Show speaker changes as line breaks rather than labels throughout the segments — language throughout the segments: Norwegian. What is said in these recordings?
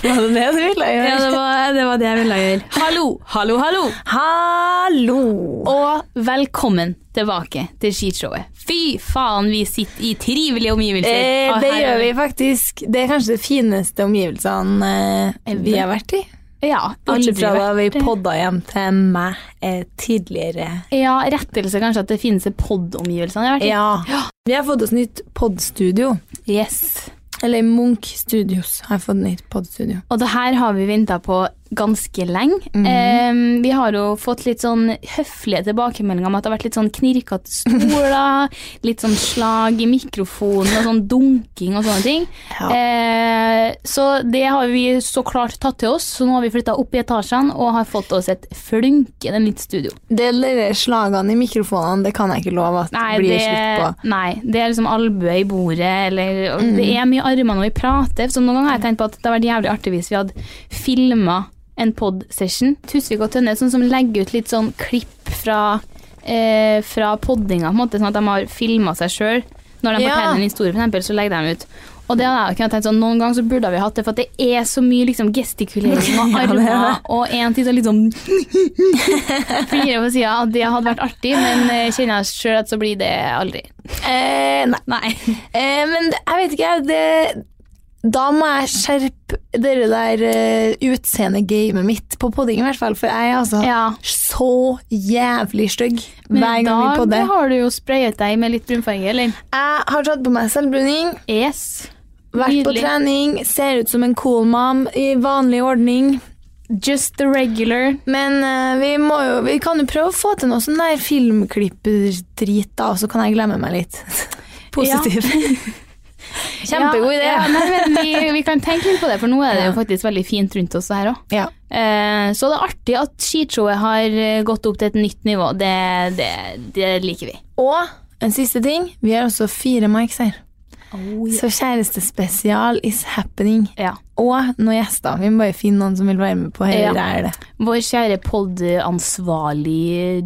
Var det det du ville
Ja,
gjøre?
det var, det var det jeg ville gjøre. Hallo, hallo, hallo!
Hallo!
Og velkommen tilbake til skishowet. Fy faen, vi sitter i trivelige omgivelser.
Eh,
Og
det
her er
gjør vi faktisk. Det er kanskje de fineste omgivelsene eh, vi har vært i.
Ja, aldri
Bortsett fra da vi
vært-
podda hjem til meg eh, tidligere.
Ja, rettelse kanskje at det finnes pod-omgivelsene jeg har vært i.
Ja. Vi har fått oss nytt podstudio.
Yes.
Eller Munch Studios har fått nytt podstudio.
Og det her har vi venta på ganske lenge. Eh, vi har jo fått litt sånn høflige tilbakemeldinger om at det har vært litt sånn knirkete stoler, litt sånn slag i mikrofonen og sånn dunking og sånne ting.
Ja.
Eh, så det har vi så klart tatt til oss, så nå har vi flytta opp i etasjene og har fått oss et flunkende nytt studio.
Det der slagene i mikrofonene, det kan jeg ikke love at
Nei,
blir
det,
slutt på. Mm.
nei, det er liksom albue i bordet, eller og Det er mye armer når vi prater. Så noen ganger har jeg tenkt på at det hadde vært jævlig artig hvis vi hadde filma en pod-session. Tusvik og Tønne sånn som legger ut litt sånn klipp fra, eh, fra poddinga, på en måte, sånn at de har filma seg sjøl. Når de
Ja.
forteller en historie, for eksempel, så legger de ut. Og det hadde jeg jo kunnet tenkt sånn, Noen ganger så burde vi hatt det, for at det er så mye liksom, gestikulering og
Ja, det er
armer.
det.
og en tid så liksom flirer på sida. Det hadde vært artig, men eh, kjenner jeg sjøl at så blir det aldri.
Eh, nei.
Nei.
Eh, men det, jeg vet ikke, jeg- det da må jeg skjerpe det der eh, utseende-gamet mitt på podding, i hvert fall. For jeg er altså
Ja.
så jævlig stygg
Men
hver
i
gang vi
dag
podder.
har du jo sprayet deg med litt brunfarge, eller?
Jeg har tatt på meg selvbruning,
Yes.
vært på
Nydelig.
trening, ser ut som en cool mom i vanlig ordning.
Just the regular.
Men eh, vi, må jo, vi kan jo prøve å få til noe sånn der filmklipperdrit, da, så kan jeg glemme meg litt. Positiv. Kjempegod idé.
Ja, ja, nei, men vi, vi kan tenke litt på det, for nå er det jo faktisk veldig fint rundt oss her òg.
Ja.
Eh, så det er artig at skishowet har eh, gått opp til et nytt nivå. Det, det, det liker vi.
Og en siste ting. Vi har også fire mics her.
Oh,
Så kjærestespesial is happening.
Ja.
Og noen gjester. Vi må bare finne noen som vil være med på
Ja.
hele er det.
Vår kjære podansvarlig,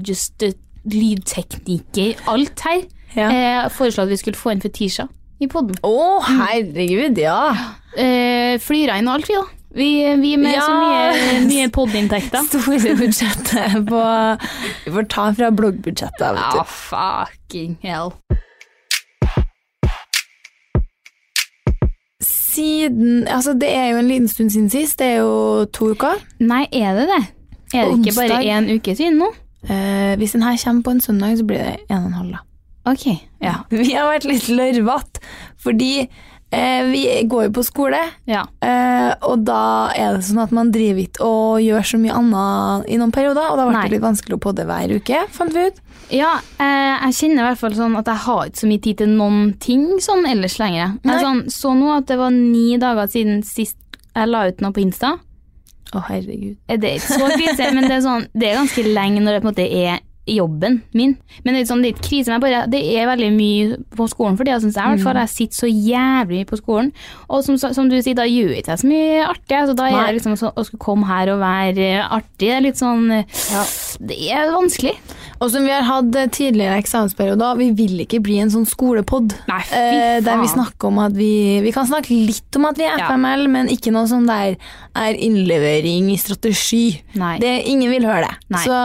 just eh, lydtekniker, alt her,
Ja.
eh, foreslo at vi skulle få inn Fetisha i poden.
Å, herregud, ja!
Eh, flyra inn og alt, vi, da. Vi, vi er med
Ja.
så mye, mye podinntekter.
Store budsjettet på Vi får ta fra bloggbudsjettet, vet du.
Ja, fucking hell.
Siden Altså, det er jo en liten stund siden sist. Det er jo to uker.
Nei, er det det? Er det ikke bare
Onsdag.
én uke siden nå?
Eh, hvis den her kommer på en søndag, så blir det en og en halv, da.
Ok, ja.
Vi har vært litt lørvete, fordi eh, vi går jo på skole,
ja.
eh, og da er det sånn at man driver ikke og gjør så mye annet i noen perioder, og da ble
Nei.
det litt vanskelig å podde hver uke, fant vi ut.
Ja, eh, jeg kjenner i hvert fall sånn at jeg har ikke så mye tid til noen ting sånn ellers lenger. Jeg
Nei.
sånn, så nå at det var ni dager siden sist jeg la ut noe på Insta.
Å, herregud.
Eh, Det er ikke så krise, men det er, sånn, det er ganske lenge når det på en måte er jobben min. Men det er, sånn, det er ikke krise, men jeg bare, det er veldig mye på skolen for det, syns jeg. i hvert fall. Jeg sitter så jævlig mye på skolen. Og som, som du sier, da gjør ikke jeg så mye artig. Så da er det liksom sånn, å skulle komme her og være eh, artig, det er litt sånn eh, Det er vanskelig.
Og som vi har hatt eh, tidligere eksamensperioder, vi vil ikke bli en sånn skolepod.
Nei, fy
Eh, der vi
faen.
snakker om at vi Vi kan snakke litt om at vi er
Ja.
FML, men ikke noe sånn der er innlevering i strategi.
Nei.
Det, ingen vil høre det.
Nei.
Så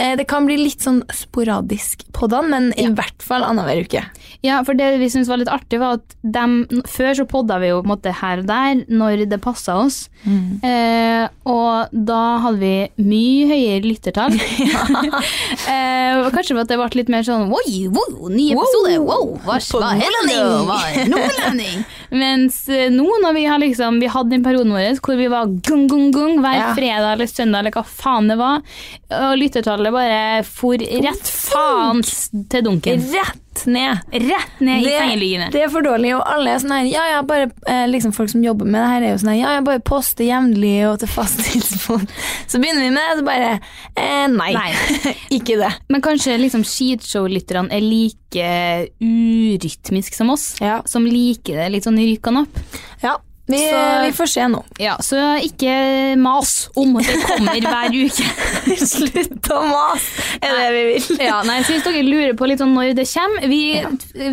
eh, det kan bli litt sånn sporadisk poddan, men i hvert fall annenhver uke.
Ja, for det vi syntes var litt artig, var at dem, før så podda vi jo på en måte her og der når det passa oss. Eh, og da hadde vi mye høyere lyttertall. eh, og kanskje for at det ble litt mer sånn Oi, wow, ny episode! Wow, hva, hva heter det? Hva er Nordlending? Mens eh, nå, når vi har liksom Vi hadde den perioden vår hvor vi var gung, gung, gung hver
Ja.
fredag eller søndag eller hva faen det var, og lyttertallet bare for rett faens til dunken.
Rett ned.
Rett ned i
Det,
sengelygene.
det er for dårlig, og alle er sånn her Ja, ja, bare eh, liksom folk som jobber med det her, er jo sånn her Ja, jeg bare poster jevnlig og til fast tidspunkt. Så begynner vi med det, så bare eh, Nei.
Nei.
ikke det.
Men kanskje liksom skishow-lytterne er like uh, urytmisk som oss,
Ja.
som liker det litt sånn rykkende opp.
Ja, vi,
Så-
vi får se nå.
Ja, Så ikke mas om at det kommer hver uke.
Slutt å mase, er det vi vil.
Ja, nei, så Hvis dere lurer på litt sånn når det kommer Vi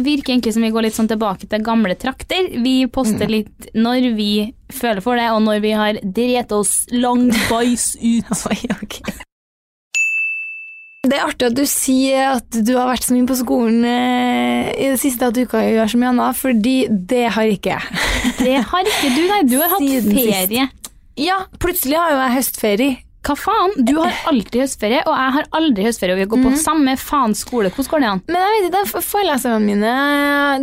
virker egentlig som vi går litt sånn tilbake til gamle trakter. Vi poster litt når vi føler for det, og når vi har drept oss langbais ut.
Oi, ok. Det er artig at du sier at du har vært så mye på skolen eh, i det siste at du ikke gjør så mye annet, fordi det har ikke jeg.
Det har ikke du, nei. Du har hatt
Siden sist.
ferie.
Ja, plutselig har jo jeg høstferie.
Hva faen? Du har alltid høstferie, og jeg har aldri høstferie. Og vi går på
Mm.
samme faen skole. Hvordan går det an?
Men jeg vet ikke, det er foreleserne mine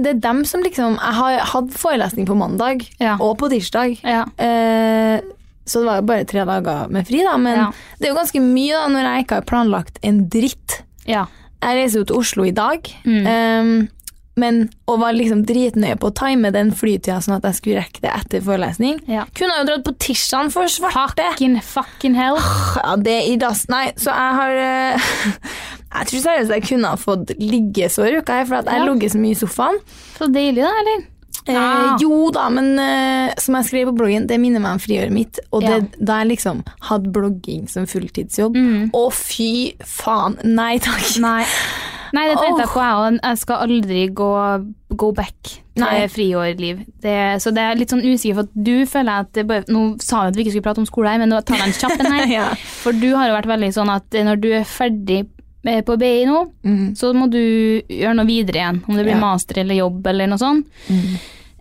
Det er dem som liksom Jeg har hatt forelesning på mandag
Ja.
og på tirsdag.
Ja.
Eh, så det var jo bare tre dager med fri, da. Men
Ja.
det er jo ganske mye da når jeg ikke har planlagt en dritt.
Ja.
Jeg reiser jo til Oslo i dag,
Mm.
eh, men, og var liksom dritnøye på å time den flytida sånn at jeg skulle rekke det etter forelesning.
Ja.
Kunne jo dratt på tirsdagen for svarte!
Fucking, fucking hell.
Ja, det er i dass. Nei, så jeg har eh, Jeg tror seriøst jeg kunne ha fått liggesår i uka, her, for at jeg
Ja.
har ligget så mye i sofaen.
Så deilig, da, eller?
Eh,
Ah.
Jo da, men eh, som jeg skrev på bloggen, det minner meg om friåret mitt. Og det,
Ja. Mm.
da jeg liksom hadde blogging som fulltidsjobb. Å, fy faen! Nei takk.
Nei. Nei, det tenkte jeg på, jeg òg. Jeg skal aldri gå go back til
Nei.
friårliv. Det, så det er litt sånn usikker, for at du føler at det bare, Nå sa jeg at vi ikke skulle prate om skole her, men nå tar jeg en kjapp en her.
Ja.
For du har jo vært veldig sånn at når du er ferdig eh, på BI nå, så må du gjøre noe videre igjen. Om det blir
Ja.
master eller jobb eller noe sånt.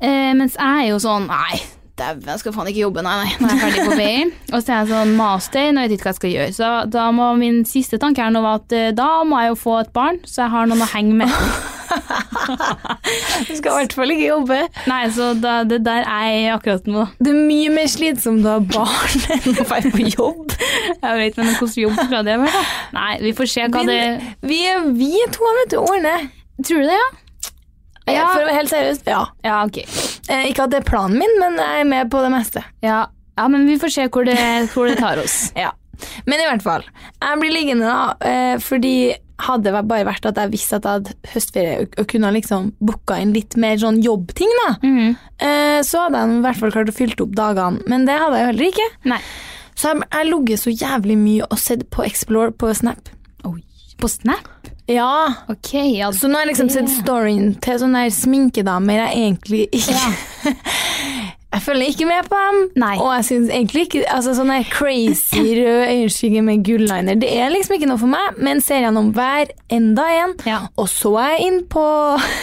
Eh, mens jeg er jo sånn Nei, dæven, jeg skal faen ikke jobbe, nei, nei. Når jeg er ferdig på BI. Og så er jeg sånn master, nå vet jeg ikke hva jeg skal gjøre. Så da må min siste tanke her nå være at eh, da må jeg jo få et barn, så jeg har noen å henge med.
Du skal i hvert fall ikke jobbe.
Nei, så da, det der er jeg akkurat nå.
Det er mye mer slitsomt å ha barn enn å være på jobb.
Jeg vet men hvordan jobb skal det være? da? Nei, vi får se hva det
Vi, vi to, vet du, ordner.
Tror du det, ja?
Eh,
Ja.
For å være helt seriøst, ja.
Ja, ok.
Eh, ikke at det er planen min, men jeg er med på det meste.
Ja, ja men vi får se hvor det, hvor det tar oss.
Ja. Men i hvert fall. Jeg blir liggende da, eh, fordi hadde det bare vært at jeg visste at jeg hadde høstferie og- og kunne ha liksom booka inn litt mer sånn jobbting, da, eh, så hadde jeg i hvert fall klart å fylle opp dagene. Men det hadde jeg jo heller ikke.
Nei.
Så jeg jeg har ligget så jævlig mye og sett på Explore på Snap.
På Snap?
Ja,
Ok, ja.
så nå har jeg liksom sett storyen til sånne her sminkedamer jeg egentlig ikke Jeg følger ikke med på dem,
Nei.
og jeg synes egentlig ikke altså Sånn her crazy rød øyenskygge med gulliner, det er liksom ikke noe for meg, men ser gjennom hver enda en,
Ja.
og så er jeg inn på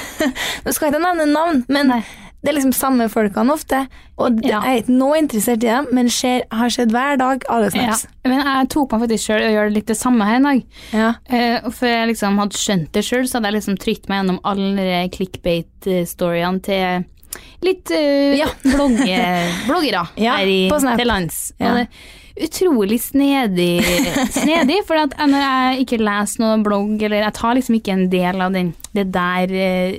Nå skal jeg ikke nevne navn, men
Nei.
det er liksom samme folkene ofte, og det-
Ja.
jeg er ikke noe interessert i dem, men ser, har sett hver dag alle
ja.
snaps.
Men jeg tok meg faktisk sjøl og gjør litt det samme her i dag.
Ja.
Eh, og før jeg liksom hadde skjønt det sjøl, så hadde jeg liksom trykt meg gjennom alle de clickbait-storyene til litt eh,
Ja.
blogge, bloggere
Ja,
her i,
på Snap.
til lands.
Ja.
Og det er utrolig snedig, snedig for at når jeg ikke leser noen blogg, eller jeg tar liksom ikke en del av den, det der eh,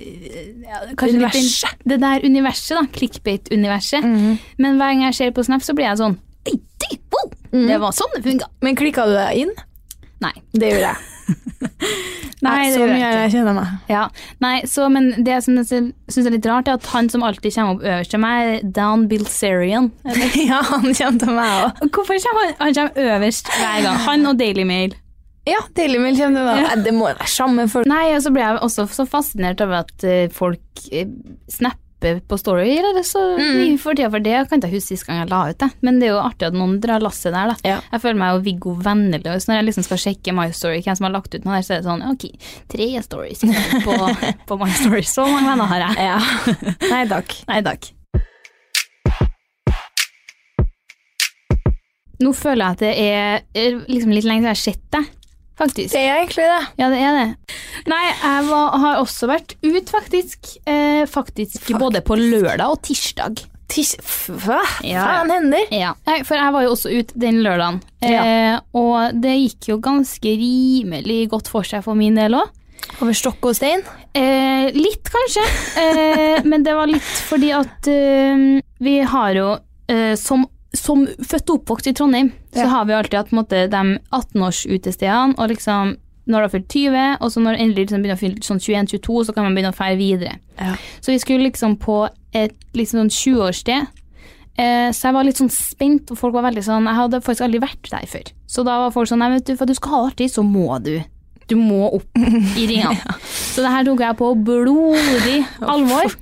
ja, kanskje litt den-
Universet. Mhm.
Det der universet, da. Clickbait-universet. Men hver gang jeg ser på Snap, så blir jeg sånn
Mhm.
Oi, det, wow, det var sånn det funka.
Men klikka du deg inn?
Nei.
Det gjorde jeg. Nei,
det
så
gjør jeg
mye
ikke.
jeg kjenner meg.
Ja, nei, så, men det som jeg syns er litt rart, er at han som alltid kommer opp øverst til meg, er Dan Bilzerian.
ja, han kjente meg òg.
Hvorfor kommer han, han kommer øverst hver gang? Han og Daily Mail.
Ja, Daily Mail kjente meg. Nei, Det må jo være samme folk.
Nei, og så ble jeg også så fascinert over at eh, folk eh, snapper på story, eller så mye for tida for det. Jeg kan ikke huske sist gang jeg la ut det, men det er jo artig at noen drar lasset der, da.
Ja.
Jeg føler meg jo Viggo Vennelig, og så når jeg liksom skal sjekke My Story, hvem som har lagt ut noe der, så er det sånn, ok, tre stories på, på My Story. Så mange venner har jeg.
Ja. Nei takk.
Nei takk. Nå føler jeg at det er eh, liksom litt lenge siden jeg har sett deg, faktisk.
Det er egentlig det.
Ja, det er det. Nei, jeg var, har også vært ut, faktisk. Eh, faktisk, både på lørdag og tirsdag.
Tis, f- hva
Ja.
faen hender?
Ja. Nei, for jeg var jo også ut den lørdagen. Eh, Og det gikk jo ganske rimelig godt for seg for min del òg.
Over stokk og stein?
Eh, litt, kanskje. Eh, men det var litt fordi at eh, vi har jo eh, som, som født og oppvokst i Trondheim, så
Ja.
har vi alltid hatt på en måte, de 18-årsutestedene, og liksom når du har fylt 20, og så når du endelig liksom begynner å fylle sånn 21-22, så kan man begynne å feire videre.
Ja.
Så vi skulle liksom på et liksom sånn 20-årssted. Eh, så jeg var litt sånn spent, og folk var veldig sånn Jeg hadde faktisk aldri vært der før. Så da var folk sånn Nei, vet du, for at du skal ha det artig, så må du. Du må opp i ringene. Så det her tok jeg på blodig alvor.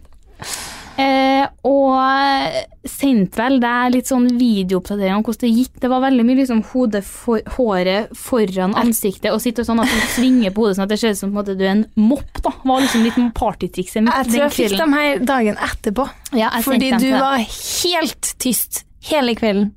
Eh, og sendte vel deg litt sånn videooppdatering om hvordan det gikk. Det var veldig mye liksom hodet for, håret foran ansiktet og sitte sånn at du svinger på hodet sånn at det ser ut som på en måte du er en mopp. da var liksom litt partytrikset mitt
Jeg tror jeg fikk dem her dagen etterpå.
Ja, jeg
Fordi
tenkte dem
du
til det.
var helt tyst hele kvelden.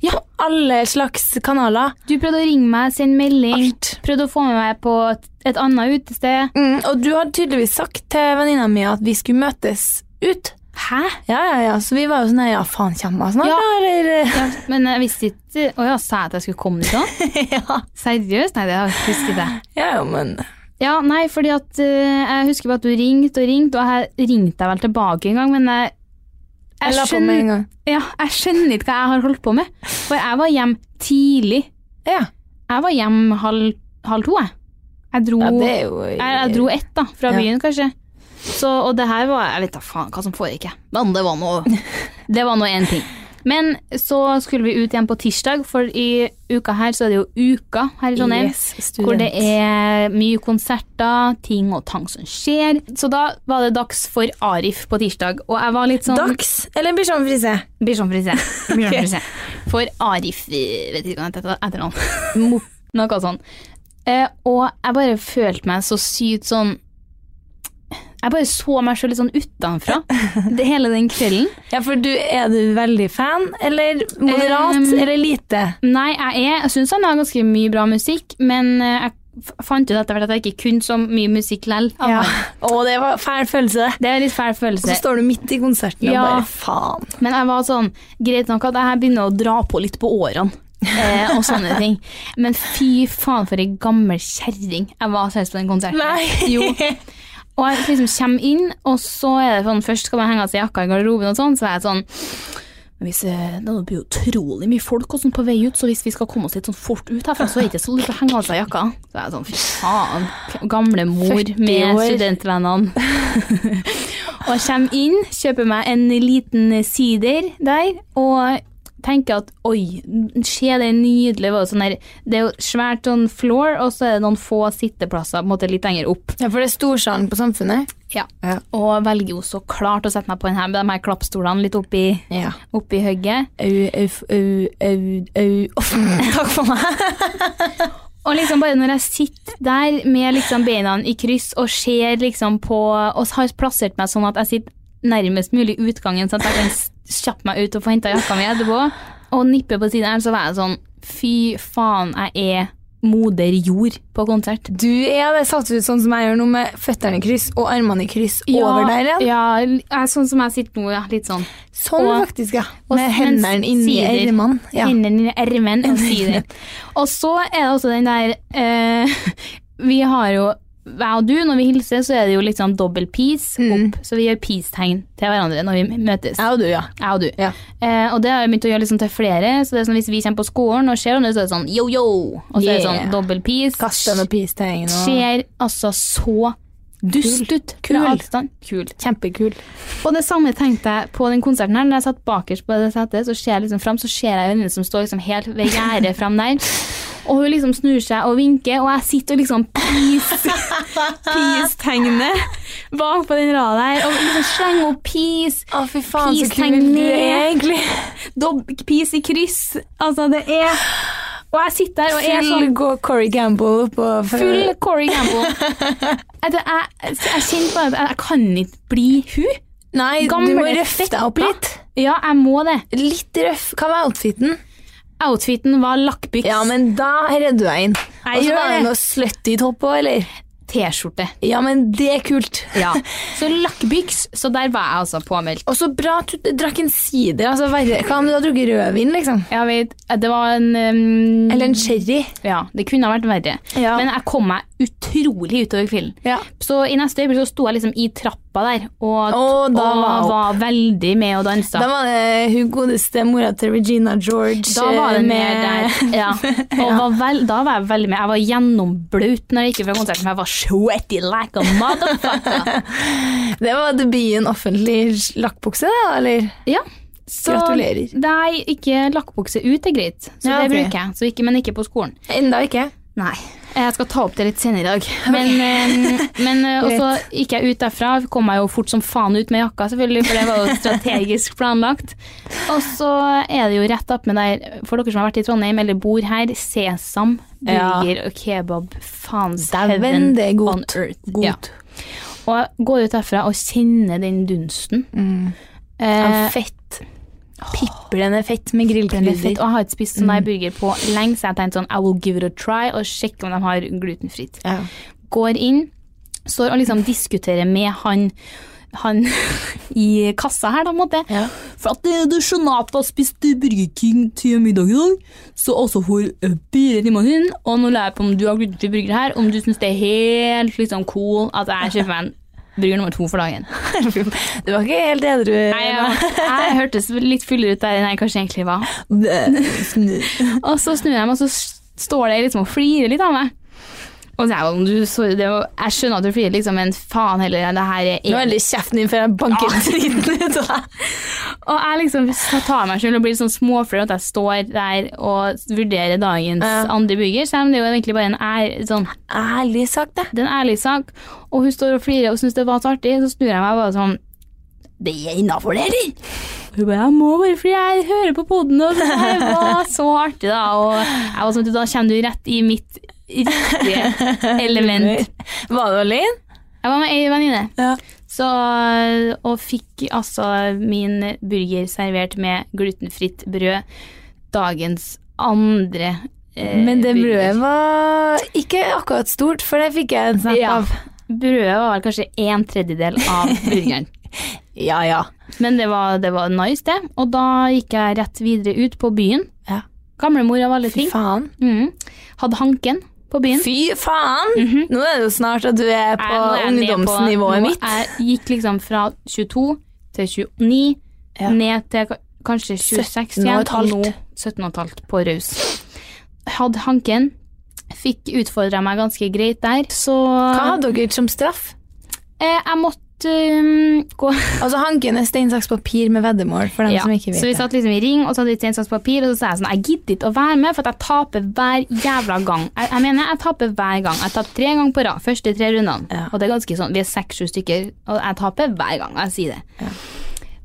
Ja. På alle slags kanaler.
Du prøvde å ringe meg, sende melding.
Alt.
Prøvde å få med meg på et, et annet utested.
Mm, og du hadde tydeligvis sagt til venninna mi at vi skulle møtes ut.
Hæ?
Ja, ja, ja. Så vi var jo sånn Ja, faen, kommer hun snart,
Ja.
da? Eller
Ja, men jeg visste ikke Å ja, sa jeg at jeg skulle komme dit òg?
ja.
Seriøst? Nei, det har jeg ikke husket det.
ja, ja, men
Ja, nei, fordi at eh, jeg husker bare at du ringte og ringte, og jeg ringte deg vel tilbake en gang, men jeg
Jeg la på med en gang.
Ja, jeg skjønner ikke hva jeg har holdt på med. For jeg var hjem tidlig.
Ja.
Jeg var hjem halv, halv to, jeg. Jeg dro,
ja, det er jo
jeg, jeg dro ett, da, fra
Ja.
byen, kanskje. Så, og det her var Jeg vet da faen hva som foregikk, jeg. Men det var nå Det var nå én ting. Men så skulle vi ut igjen på tirsdag, for i uka her så er det jo uka her i Trondheim.
Yes, student.
Hvor det er mye konserter, ting og tang som skjer. Så da var det dags for Arif på tirsdag, og jeg var litt sånn
Dags eller Bichon Frise?
Bichon Frise. Bichon Frise. For Arif eh, Vet ikke hva han heter etter navn.
Mo-
Noe sånn. Eh, og jeg bare følte meg så sykt sånn Jeg bare så meg sjøl litt sånn utenfra det, hele den kvelden.
Ja, for du, er du veldig fan, eller moderat,
Um,
eller lite?
Nei, jeg er Jeg syns han har ganske mye bra musikk, men eh, jeg f- fant ut etter hvert at jeg ikke kunne så mye musikk lell. av
Ja. Å,
han.
det var fæl følelse, det.
Det er en litt fæl
Og så
følelse.
står du midt i konserten
Ja.
og bare faen.
Men jeg var sånn Greit nok at jeg her begynner å dra på litt på årene. eh, og sånne ting. Men fy faen for ei gammel kjerring jeg var seriøst på den konserten. Jo. Og jeg liksom kommer inn, og så er det sånn Først skal man henge av seg jakka i garderoben, og sånn, så er jeg sånn men hvis, eh, Det blir jo utrolig mye folk og sånn på vei ut, så hvis vi skal komme oss litt sånn fort ut herfra, så er det ikke så lurt å henge av seg jakka. Så er jeg sånn, fy faen. k- Gamle mor
40
med
år.
studentvennene. og jeg kommer inn, kjøper meg en liten sider der, og tenker at oi, se det nydelige. var jo Sånn der, det er jo svært sånn floor, og så er det noen få sitteplasser på en måte litt lenger opp.
Ja, for det er storsalen på Samfunnet.
Ja.
Ja.
Og velger jo så klart å sette meg på den her, med de her klappstolene litt oppi,
Ja.
oppi høgget.
Au, au, au, au, au. Uff, takk for meg.
Og liksom bare når jeg sitter der med liksom beina i kryss og ser liksom på Og har plassert meg sånn at jeg sitter nærmest mulig utgangen, sånn at jeg kan s- kjappe meg ut og få henta jakka mi etterpå, og nippe på siden her, så var jeg sånn Fy faen, jeg er moder jord på konsert.
Du er det satt ut sånn som jeg gjør nå, med føttene i kryss og armene i kryss over der igjen.
Ja, jeg- sånn som jeg sitter nå, ja. Litt sånn.
Sånn
Og-
faktisk, ja.
Og
Med
s-
hendene
mens
inni
sider-
ermene. Ja.
Hendene i altså ermen og sider. Og så er det også den der eh, Vi har jo jeg og du, når vi hilser, så er det jo litt sånn dobbel peace opp. Så vi gjør peace-tegn til hverandre når vi møtes.
Jeg og du, Mm. ja.
Jeg og du.
Ja.
Eh, og det har jeg begynt å gjøre liksom til flere. Så det er sånn Hvis vi kommer på skolen og ser hverandre, så er det sånn yo, yo. Og så er det
Yeah.
sånn dobbel peace.
Kaste med peace-tegn og
Ser altså så dust ut
Kul.
fra avstand. Kul.
Kjempekul.
Og det samme tenkte jeg på den konserten her. Når jeg satt bakerst på det setet, så ser jeg liksom fram, så ser jeg henne som står liksom helt ved gjerdet fram der. Og hun liksom snur seg og vinker, og jeg sitter og liksom peace- peace-tegnet bak på den rada her. Og liksom slenger opp peace,
Å, fy faen, så
Peace-tegn
kul du er,
ned.
egentlig.
dob peace i kryss. Altså, det er Og jeg sitter der og er
Full
sånn
gå Corey Gamble opp og
full Corey Gamble. Jeg, jeg, jeg kjente bare at jeg, jeg kan ikke bli hun.
Nei, du
Gamle
må røffe deg opp
fetta.
litt.
Ja, jeg må det.
Litt røff. Hva var outfiten?
Outfiten var lakkbyks.
Ja, men da redder du deg inn.
Jeg
Og så
gjør
var det
det.
noe slutty topp òg, eller?
T-skjorte.
Ja, men det er kult.
Ja. Så lakkbyks, så der var jeg altså påmeldt.
Og så bra at du drakk en sider. Altså, verre. Hva om du hadde drukket rødvin, liksom?
Jeg vet, eh, det var en um,
Eller en sherry?
Ja, det kunne ha vært verre.
Ja.
Men jeg kom meg utrolig utover kvelden.
Ja.
Så i neste øyeblikk så sto jeg liksom i trappa der og,
Å, da
og
var hun-
var veldig med og dansa.
Da var det hun godeste mora til Regina George
Da var det
eh,
med der. Ja. Og var vel, da var jeg veldig med. Jeg var gjennomblaut når jeg gikk fra konserten, for jeg var sweaty like a motherfucker.
Det var debuten offentlig lakkbukse, da, eller?
Ja. Så,
Gratulerer.
Nei, ikke lakkbukse ut er greit. Så
Ja,
det
ok.
bruker jeg. Så ikke, men ikke på skolen.
Enda ikke.
Nei. Jeg skal ta opp det litt senere i dag. Men, eh, men eh, og så gikk jeg ut derfra. Kom meg jo fort som faen ut med jakka, selvfølgelig, for det var jo strategisk planlagt. Og så er det jo rett opp med der, for dere som har vært i Trondheim eller bor her, sesam,
Ja.
burger og kebab. Faens
Dæven,
heaven
det er godt.
on earth.
God.
Ja. Og jeg går ut derfra og kjenner den dunsten.
Mm.
Eh,
fett. Piplende fett med
Det er fett,
grillkrydder. Mm.
og jeg har ikke spist sånn der burger på lenge, så jeg tenkte sånn, I will give it a try, og sjekke om de har glutenfritt.
Ja.
Går inn, står og liksom diskuterer med han, han i kassa her, da, på en måte.
Ja.
For at det, det er sånn at jeg spiste Burger King til middag i dag, så altså for eh, fire timer siden, og nå lurer jeg på om du har glutenfri burger her, om du synes det er helt liksom cool at jeg kjøper meg en burger nummer to for dagen.
Du var ikke helt edru.
Nei, jeg, jeg hørtes litt fullere ut der enn jeg kanskje egentlig var. Og så snur jeg meg, og så s- står det liksom og flirer litt av meg. Og så er jeg jo, du, så, det er jo, jeg skjønner at du flirer, liksom, men faen heller, det her er
Nå er det kjeften din før jeg banker driten ut av deg.
Og jeg liksom så tar meg selv og blir litt sånn småflau at jeg står der og vurderer dagens
Ja.
andre burger, selv om det er jo egentlig bare en ær, sånn,
Ærlig sagt, det.
det er en ærlig sak. Og hun står og flirer og syns det var så artig, så snur jeg meg og bare sånn Det er innafor, det, eller? Og Hun bare, jeg må bare fordi jeg hører på poden, og det her var så artig, da. Og jeg var sånn, da kommer du rett i mitt riktige element.
Var det Olin?
Jeg var med ei venninne,
Ja.
så, og fikk altså min burger servert med glutenfritt brød. Dagens andre eh,
Men det
burger.
brødet var ikke akkurat stort, for det fikk jeg en snap
Ja.
av.
Brødet var vel kanskje en tredjedel av burgeren.
Ja, ja.
Men det var, det var nice, det. Og da gikk jeg rett videre ut på byen.
Ja.
Gamlemor av alle
Fy
ting.
faen.
Mhm. Hadde hanken på byen.
Fy faen! Nå er det jo snart at du er på
Jeg- Mhm. nå er jeg ned på-
ungdomsnivået
nå-
mitt.
Jeg gikk liksom fra 22 til 29,
Ja.
ned til ka- kanskje 26
17 og
igjen,
et halvt.
nå 17,5 på raus. Hadde hanken. Fikk utfordra meg ganske greit der, så
Hva hadde dere som straff?
eh, Jeg måtte um, gå
Altså Hanken er stein, saks, papir med veddemål, for dem
Ja,
som ikke vet
så vi
det.
satt liksom i ring, og så hadde vi stein, saks, papir, og så sa jeg sånn Jeg gidder ikke å være med, for at jeg taper hver jævla gang. Jeg, jeg mener, jeg taper hver gang. Jeg tapte tre ganger på rad, første tre rundene.
Ja.
Og det er ganske sånn, vi er seks-sju stykker, og jeg taper hver gang jeg sier det.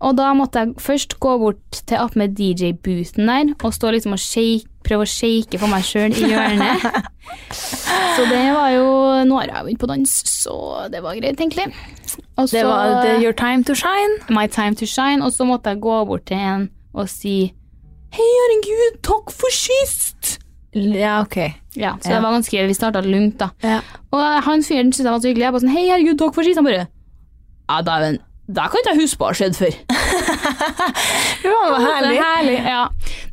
Og da måtte jeg først gå bort til opp med DJ-booten der, og stå liksom og shake, prøve å shake for meg sjøl i hjørnet. så det var jo Nå har jeg jo begynt på dans, så det var greit, egentlig. Og
Det
så-
var the, Your Time to Shine.
My Time to Shine, og så måtte jeg gå bort til en og si Hei, herregud, takk for sist!
Ja, ok.
Ja, så det var ganske, vi starta lunt, da.
Ja.
Og han fyren syntes jeg var så hyggelig. Jeg bare sånn Hei, herregud, takk for sist. Han bare Ja, dæven, det kan ikke jeg huske på har skjedd før.
Det var herlig.
Det er herlig, ja.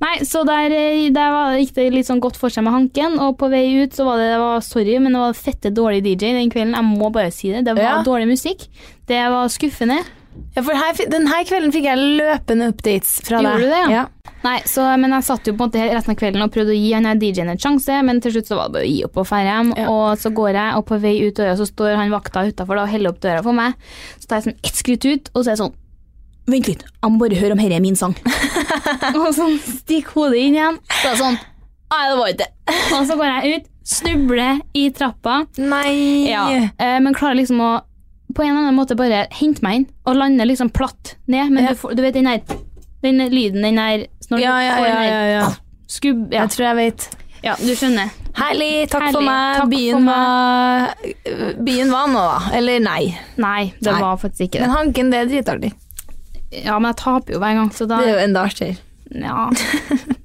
Nei, så der, eh, der var, gikk det litt sånn godt for seg med Hanken, og på vei ut så var det, det var, sorry, men det var fette dårlig DJ den kvelden. Jeg må bare si det. Det var
Ja.
dårlig musikk. Det var skuffende.
Ja, for her, fi- denne kvelden fikk jeg løpende updates fra deg.
Gjorde du det, ja? Nei, så, men jeg satt jo på en måte hele resten av kvelden og prøvde å gi han her DJ-en en sjanse, men til slutt så var det bare å gi opp og ferde hjem.
Ja.
Og så går jeg, og på vei ut døra så står han vakta utafor og heller opp døra for meg. Så tar jeg sånn ett skritt ut, og så er jeg sånn Vent litt, jeg må bare høre om dette er min sang. og sånn stikk hodet inn igjen. Så er jeg sånn Nei, det var ikke det. Og så går jeg ut, snubler i trappa.
Nei.
Ja, eh, men klarer liksom å på en eller annen måte bare hente meg inn og lande liksom platt ned. Men du, får, du vet den der den der lyden, den der når du
Ja, ja,
får den
ja,
der
ja, ja.
Skubb ja.
Jeg tror jeg vet.
ja, du skjønner.
Herlig, takk for
Herlig,
meg.
takk for
byen, Var, byen var nå, da. Eller nei.
Nei, det
Nei.
var faktisk ikke
Men
det.
Hanken, det er dritartig.
Ja, men jeg taper jo hver gang, så da
Det er jo enda artigere.
Ja.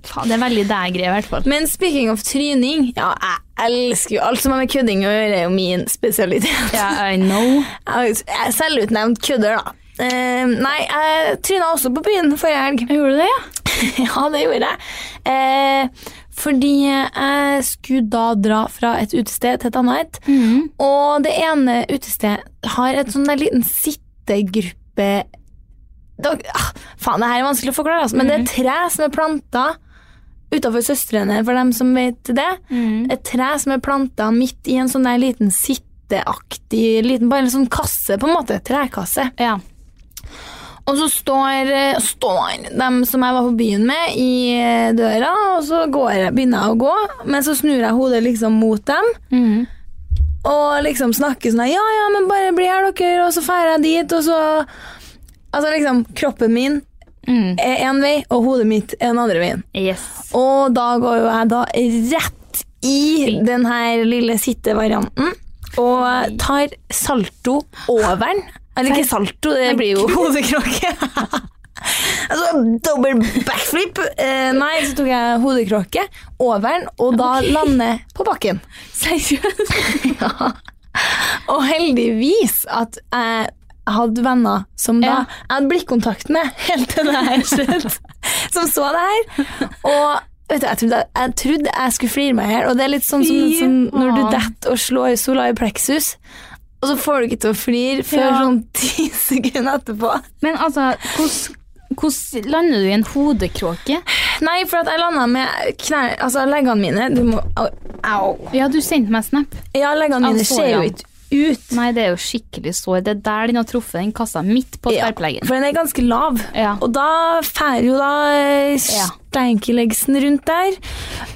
Faen, det er veldig deg-greie, i hvert fall.
Men speaking of tryning, ja, jeg elsker jo alt som har med kødding å gjøre, er jo min spesialitet.
Ja, I know.
Jeg er Selvutnevnt kødder, da. Eh, nei, jeg tryna også på byen forrige helg.
Gjorde du det, ja?
ja, det gjorde jeg. Eh, fordi jeg skulle da dra fra et utested til et annet.
Mhm.
Og det ene utestedet har et sånn der liten sittegruppe da, ah, Faen, det her er vanskelig å forklare, altså, men det er
Mhm.
et tre som er planta utafor Søstrene, for dem som vet det. Et tre som er planta midt i en sånn der liten sitteaktig liten, Bare en sånn kasse, på en måte. Trekasse.
Ja.
Og så står, eh, står dem som jeg var på byen med, i eh, døra, og så går jeg, begynner jeg å gå. Men så snur jeg hodet liksom mot dem og liksom snakker sånn her, Ja, ja, men bare bli her, dere, og så drar jeg dit, og så Altså liksom, kroppen min
Mm.
er én vei, og hodet mitt er den andre veien.
Yes.
Og da går jo jeg da rett i den her lille sittevarianten og tar salto over den. Eller ikke salto, det blir jo hodekråke. altså, dobbel backflip. Eh, nei, så tok jeg hodekråke over den, og da lander jeg på bakken.
Seriøst?
Og heldigvis at jeg hadde venner som da
Ja.
jeg hadde blikkontakt med helt til det her skjedde, som så det her. Og vet du, jeg trodde jeg, jeg, trodde jeg skulle flire meg her, og det er litt sånn som,
Fy
som når du
faen.
detter og slår sola i pleksus, og så får du ikke til å flire før
Ja.
sånn ti sekunder etterpå.
Men altså, hvordan hvordan lander du i en hodekråke?
Nei, for at jeg landa med knær, altså leggene mine Du må Au. au.
Ja, du sendte meg snap.
Ja, leggene mine
Altså,
ser jo
ja.
ikke ut.
Nei, det er jo skikkelig sår. Det er der den har truffet den kassa, midt på
Ja,
tverrpleggen.
for den er ganske lav.
Ja.
Og da fær jo da eh,
Ja.
steinkileggsen rundt der.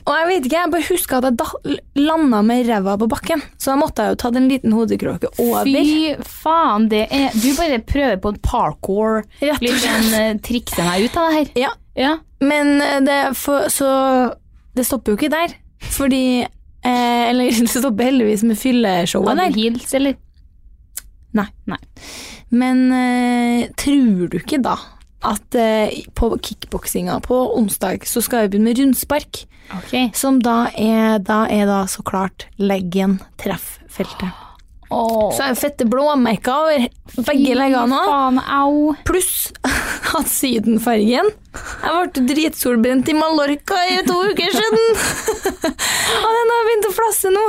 Og jeg vet ikke, jeg bare husker at jeg da landa med ræva på bakken. Så da måtte jeg jo ta den liten hodekråke over.
Fy faen, det er Du bare prøver på en parkour.
Rett og
Liksom eh, trikse meg ut av det her.
Ja,
Ja.
men eh, det, for, så det stopper jo ikke der. Fordi eh, Eller det stopper heldigvis med fylleshowet
Hadde
der.
du heels, eller?
Nei.
Nei.
Men eh, tror du ikke da at eh, på kickboksinga på onsdag så skal vi begynne med rundspark?
Ok.
Som da er da, er da så klart leggen trefffeltet.
Åh,
Så er det fette blåmerker over begge leggene òg.
Faen, au.
Pluss at sydenfargen Jeg ble dritsolbrent i Mallorca i to uker siden! Og den har begynt å flasse nå.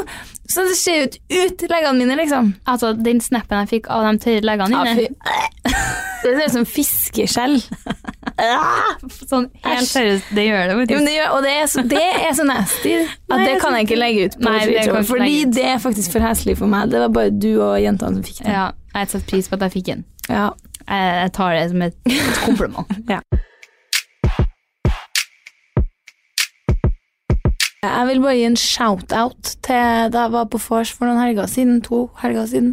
Så det ser jo ikke ut leggene mine, liksom.
Altså, den snappen jeg fikk av de tørre leggene
Ja, fy.
dine,
Det ser ut som fiskeskjell.
sånn helt
Æsj.
seriøst, det gjør det,
Jo,
vet
men
du.
det, gjør- og det er, så, det er så nasty at
Nei,
det
det
kan jeg ikke legge ut på
Nei, det
Twitter.
kan ikke
Fordi
legge ut.
det er faktisk for heslig for meg. Det var bare du og jentene som fikk det.
Ja, jeg setter pris på at jeg fikk den.
Ja.
Jeg, jeg tar det som et et kompliment.
Jeg vil bare gi en shout-out til da jeg var på vors for noen helger siden. To helger siden.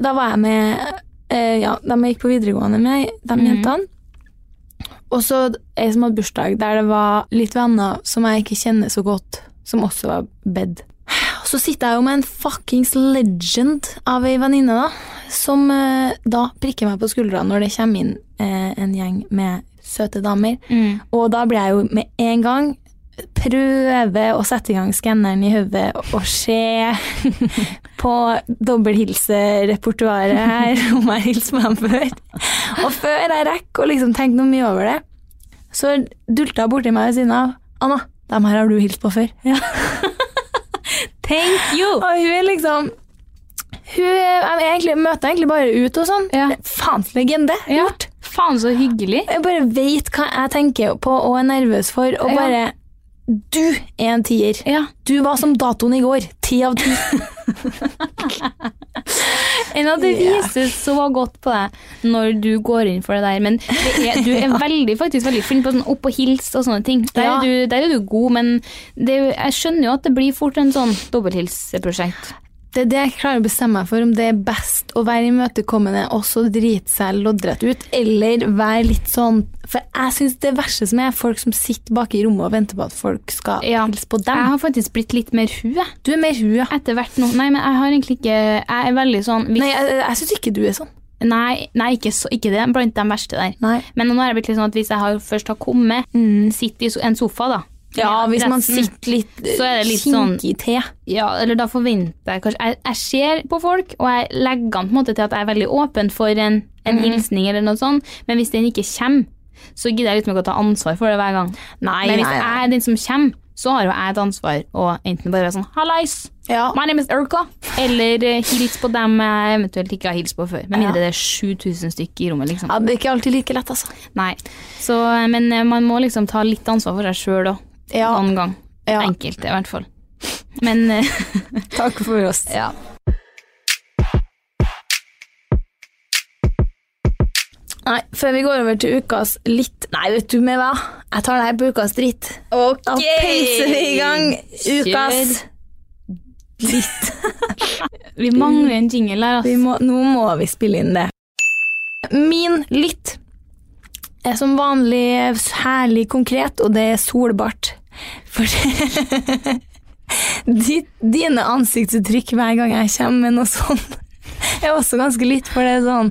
Da var jeg med eh, ja, dem jeg gikk på videregående med, de jentene. Og så ei som hadde bursdag, der det var litt venner som jeg ikke kjenner så godt, som også var bedt. Og så sitter jeg jo med en fuckings legend av ei venninne, da, som eh, da prikker meg på skuldra når det kommer inn eh, en gjeng med søte damer. Og da blir jeg jo med en gang prøve å sette i gang skanneren i hodet og se på dobbelthilserepertoaret her, om jeg hilser på dem før. Og før jeg rekker å liksom tenke noe mye over det, så dulta hun borti meg ved siden av. 'Anna, dem her har du hilst på før.'
Thank you!
Og hun er liksom Hun er, jeg egentlig, møter henne egentlig bare ut og sånn.
Ja.
Faens legende.
Ja. Faen, så hyggelig.
Jeg bare veit hva jeg tenker på og er nervøs for, og
Ja.
bare Du er en tier.
Ja.
Du var som datoen i går. Ti av ti.
Enn at det
Ja.
vises så godt på deg når du går inn for det der. Men det er, du er veldig, faktisk veldig flink på sånn opp og hils og sånne ting. Der,
Ja.
er, du, der er du god, men det, er jo- jeg skjønner jo at det blir fort en sånn dobbelthilseprosjekt.
Det er det jeg klarer å bestemme meg for, om det er best å være imøtekommende og så drite seg loddrett ut, eller være litt sånn For jeg syns det verste som er, er folk som sitter bak i rommet og venter på at folk skal
Ja.
hilse på
Jeg
dem.
har faktisk blitt litt mer hun, jeg.
Du er mer hun, ja.
Etter hvert nå. Nei, men jeg har egentlig ikke Jeg er veldig sånn hvis,
Nei, jeg, jeg syns ikke du er sånn.
Nei, nei ikke, så, ikke det. Blant de verste der.
Nei. Mm.
Men nå har jeg blitt litt sånn at hvis jeg har, først har kommet, sitter i so- en sofa, da.
Ja, hvis man
Resten.
sitter litt
Så er det litt sånn-
kinkig til.
Ja, eller da forventer jeg kanskje Jeg, jeg ser på folk, og jeg legger an på en måte til at jeg er veldig åpen for en, en
Mhm.
hilsning eller noe sånt, men hvis den ikke kommer, så gidder jeg liksom ikke å ta ansvar for det hver gang.
Nei,
men hvis
nei, nei.
jeg er den som kommer, så har jo jeg et ansvar å enten bare være sånn Hallais!
Ja.
My name is Erka. Eller eh, hils på dem jeg eventuelt ikke har hilst på før. Med mindre det er 7000 stykker i rommet, liksom.
Ja, det er ikke alltid like lett, altså.
Nei. Så, eh, men eh, man må liksom ta litt ansvar for seg sjøl òg.
Ja.
Noen gang.
Ja.
Enkelte, i hvert fall. Men eh,
Takk for oss.
ja.
Nei, før vi går over til ukas litt Nei, vet du med hva? Jeg tar det her på ukas dritt. Ok! Da peiser vi i gang ukas
Kjør. Vi mangler en jingle her,
vi
altså.
må, Nå må vi spille inn det. Min litt er som vanlig herlig konkret, og det er solbart. For ditt, dine ansiktsuttrykk hver gang jeg kommer med noe sånt er også ganske litt, for det er sånn